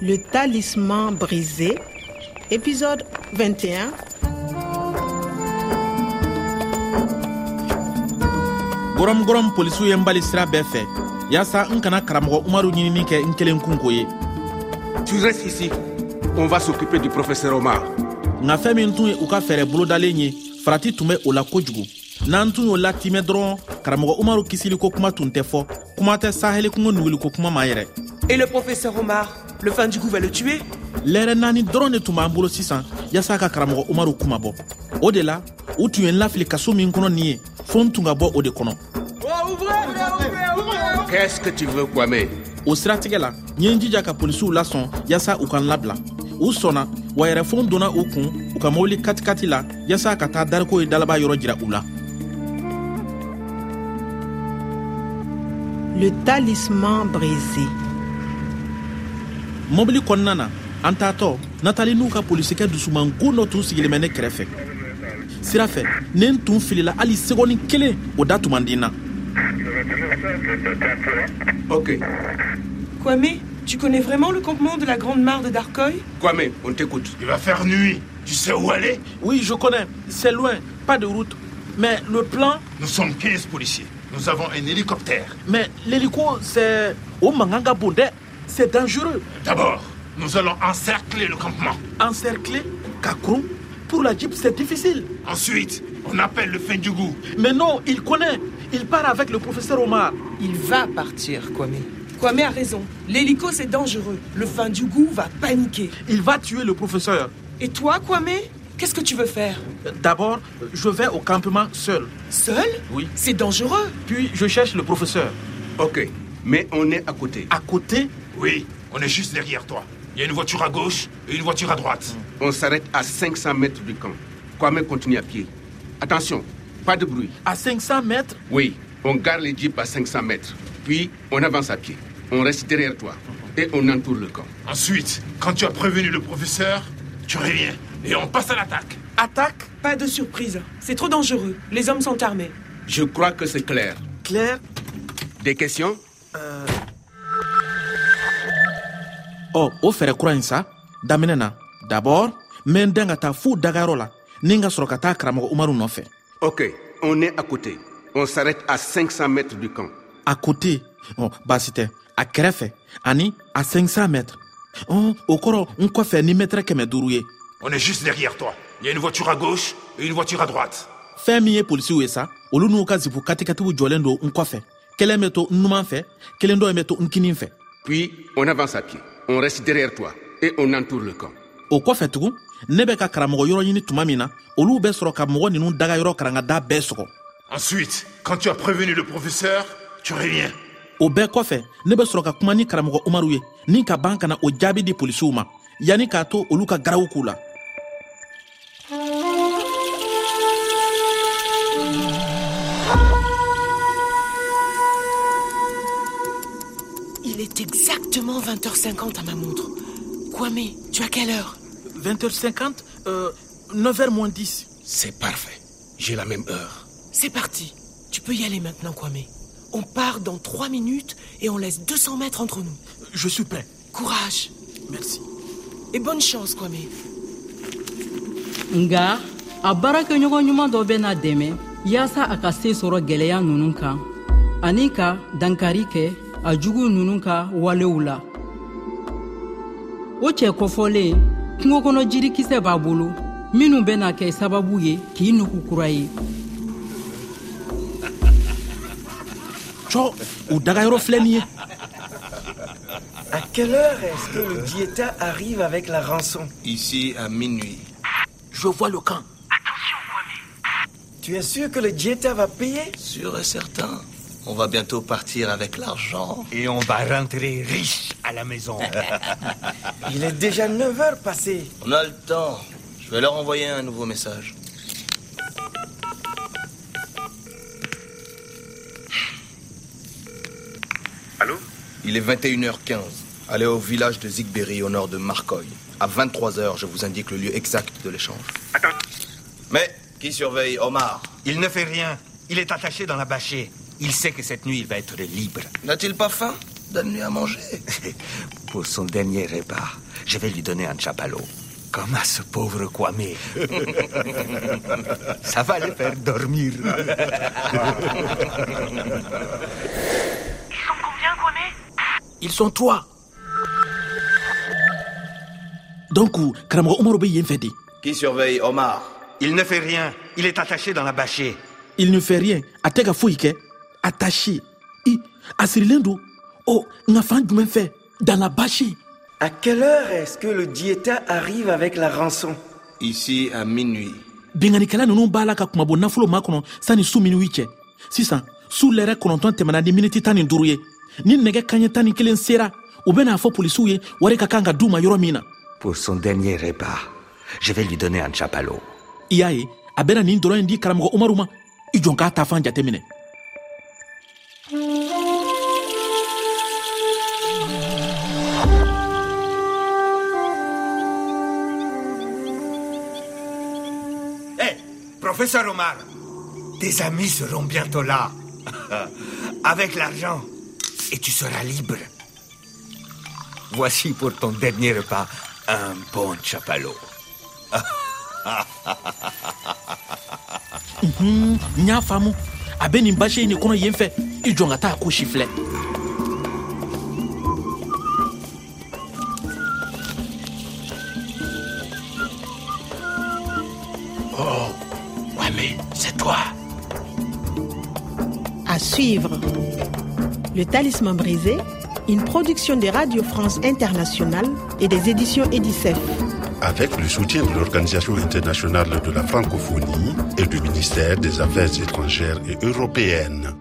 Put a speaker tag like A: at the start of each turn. A: Le talisman brisé, épisode 21.
B: gɔrɔmugɔrɔm polisiw ye n bali sira bɛɛ fɛ yaasa n kana karamɔgɔ umaru ɲinini kɛ n kelen kun ko ye
C: Tu restes ici. On va s'occuper du professeur Omar.
B: nka fɛɛn min tun ye u ka fɛɛrɛ bolodalen ye farati tun bɛ o la kojugu n'an tun y'o latimɛ dɔrɔn karamɔgɔ umaru kisiliko kuma tun tɛ fɔ kuma tɛ sahɛlikungo nuguliko kuma ma yɛrɛ
D: Et le professeur Omar, le fin du coup va le tuer
B: lɛrɛ naani dɔrɔn de tun b'an bolo sisan yaasa ka karamɔgɔ umaru kuma bɔ o de la u tun ye n lafili kaso min kɔnɔ nin ye fo n tun ka bɔ o de kɔnɔ
C: Qu'est-ce que tu veux, Kwame
B: o siratigɛ la n ye n jija ka polisiw lasɔn yaasa u ka n labila u sɔnna wa yɛrɛfɛnw donna u kun u ka mobili katikati la yaasa ka taa dariko ye dalaba yɔrɔ jira u la
A: Le talisman brisé.
B: mobili kɔnɔna na an taatɔ natali n'u ka polisikɛ dusumankun dɔ tun sigilen bɛ ne kɛrɛfɛ sira fɛ ne n tun filila hali segɔni kelen o da tun man di n na
C: Ok.
D: Kwame, tu connais vraiment le campement de la Grande Mare de Darkoy
C: Kwame, on t'écoute.
E: Il va faire nuit. Tu sais où aller
B: oui je connais c'est loin pas de route mais le plan
E: Nous sommes 15 policiers. Nous avons un hélicoptère.
B: mais l'hélico c'est o mankan ka bon dɛ c'est dangereux
E: D'abord, nous allons encercler le campement.
B: encerclé ka koron pour la jeep c'est difficile
E: Ensuite, on appelle le Fendjougou.
B: Mais non, il connaît. Il part avec le professeur Omar.
D: Il va partir, Kwame. Kwame a raison. L'hélico, c'est dangereux. Le fin du goût va paniquer.
B: Il va tuer le professeur.
D: Et toi, Kwame Qu'est-ce que tu veux faire
B: D'abord, je vais au campement seul.
D: Seul
B: Oui.
D: C'est dangereux.
B: Puis je cherche le professeur.
C: Ok. Mais on est à côté.
B: À côté,
E: Oui, on est juste derrière toi. Il y a une voiture à gauche et une voiture à droite.
C: On s'arrête à 500 mètres du camp. Kwame continue à pied. Attention, pas de bruit.
B: à 500 mètres,
C: Oui, on garde les jeeps à 500 mètres. Puis, on avance à pied. On reste derrière toi. Et on entoure le camp.
E: Ensuite, quand tu as prévenu le professeur, tu reviens et on passe à l'attaque.
B: attaque.
D: Pas de surprise. C'est trop dangereux. Les hommes sont armés.
C: Je crois que c'est clair.
B: Claire.
C: Des questions
B: Oh, au faire croire ça. Daminena. D'abord, mendengata fou dagarola. Ninga sorokata kramo Omaru no fait.
C: Ok, on est à côté. On s'arrête à 500 mètres du camp.
B: À côté. Oh, basite. À krefe. Ani, à 500 mètres. Oh, okoro, un coiffe ni mètre keme duruye.
E: On est juste derrière toi. Il y a une voiture à gauche et une voiture à droite.
B: fɛn min ye polisiw ye sa olu n'u ka zipu katikatiw jɔlen don n kɔfɛ kelen bɛ to n numan fɛ kelen dɔ in bɛ to n kinin fɛ
C: Puis, on avance à pied. On reste derrière toi. Et on entoure le camp.
B: o kɔfɛ tugun ne bɛ ka karamɔgɔ yɔrɔ ɲini tuma min na olu bɛ sɔrɔ ka mɔgɔ ninnu dagayɔrɔ karangada bɛɛ sɔgɔ
E: Ensuite, quand tu as prévenu le professeur, tu reviens.
B: o bɛɛ kɔfɛ ne bɛ sɔrɔ ka kuma ni karamɔgɔ umaru ye ni ka ban ka na o jaabi di polisiw ma yanni k'a to olu ka garaw k'u la
D: Il est exactement 20h50 à ma montre. Kwame, tu as quelle heure
B: 20h50 euh, 9h moins 10
C: C'est parfait. J'ai la même heure.
D: C'est parti. Tu peux y aller maintenant, Kwame. On part dans 3 minutes et on laisse 200 mètres entre nous.
B: je suis prêt
D: Courage
B: merci
D: et bonne chance, Kwame.
F: nga a baarakɛɲɔgɔn ɲuman dɔ bɛ n'a dɛmɛ yaasa a ka se sɔrɔ gwɛlɛya ninnu kan ani ka dankari kɛ a jugu ninnu ka walew la o cɛ kɔfɔlen kungo kɔnɔ jirikisɛ b'a bolo minnu bɛna kɛ sababu ye k'i nugu kura ye
B: cɔ u dagayɔrɔ filɛ nin ye
G: À quelle heure est-ce que le diéta arrive avec la rançon
H: Ici à minuit.
B: je vois le camp
G: Tu es sûr que le diéta va payer
H: Sûr et certain, on va bientôt partir avec l'argent.
I: Et on va rentrer riche à la maison.
G: Il est déjà 9 heures passées.
H: On a le temps. Je vais leur envoyer un nouveau message.
E: Allô
H: Il est 21h15. Allez au village de Zigberry au nord de Marcoy. À 23h, je vous indique le lieu exact de l'échange.
E: Attends.
H: Mais qui surveille Omar
I: Il ne fait rien. Il est attaché dans la bâchée. Il sait que cette nuit, il va être libre.
H: N'a-t-il pas faim Donne-lui à manger.
I: Pour son dernier repas, je vais lui donner un chapalot. Comme à ce pauvre Kwame. Ça va le faire dormir.
J: Ils sont combien, Kwame
D: Ils sont trois.
B: donc karamɔgɔ umaru be yen fɛ de
H: Qui surveille Omar
I: Il ne fait rien. Il est attaché dans la bâchée.
B: il ne fait rien a tɛ ka foyi kɛ attaché i a sirilen don ɔ nka fan jumɛn fɛ dans la bâche
G: À quelle heure est-ce que le diéta arrive avec la rançon
H: Ici à minuit.
B: binganikɛla ninnu b'a la ka kumabɔ nafolo ma kɔnɔ sanni su minuwi cɛ sisan su lɛrɛ kɔnɔntɔn tɛmɛna ni miniti tan ni duuru ye ni nɛgɛ kaɲɛ tan ni kelen sera u bena a fɔ polisiw ye wari ka kan ka d'u ma yɔrɔ min na
I: Pour son dernier repas, je vais lui donner un chapalot.
B: i y'a ye a bena nin dɔrɔn ye di karamɔgɔ umaru ma i jɔn k'a ta fan jate minɛ
I: Hé, Eh, professeur Omar, tes amis seront bientôt là. Avec l'argent, et tu seras libre. Voici pour ton dernier repas un bon chapalot.
B: n y'a faamu a be nin bashe ye nin kɔnɔ yen fɛ i jɔn ka taa ko si filɛ
D: Kwame, Oh, c'est toi.
A: À suivre. Le Talisman brisé, une production de Radio France Internationale et des éditions Edicef.
K: avec le soutien de l'Organisation internationale de la francophonie et du ministère des Affaires étrangères et européennes.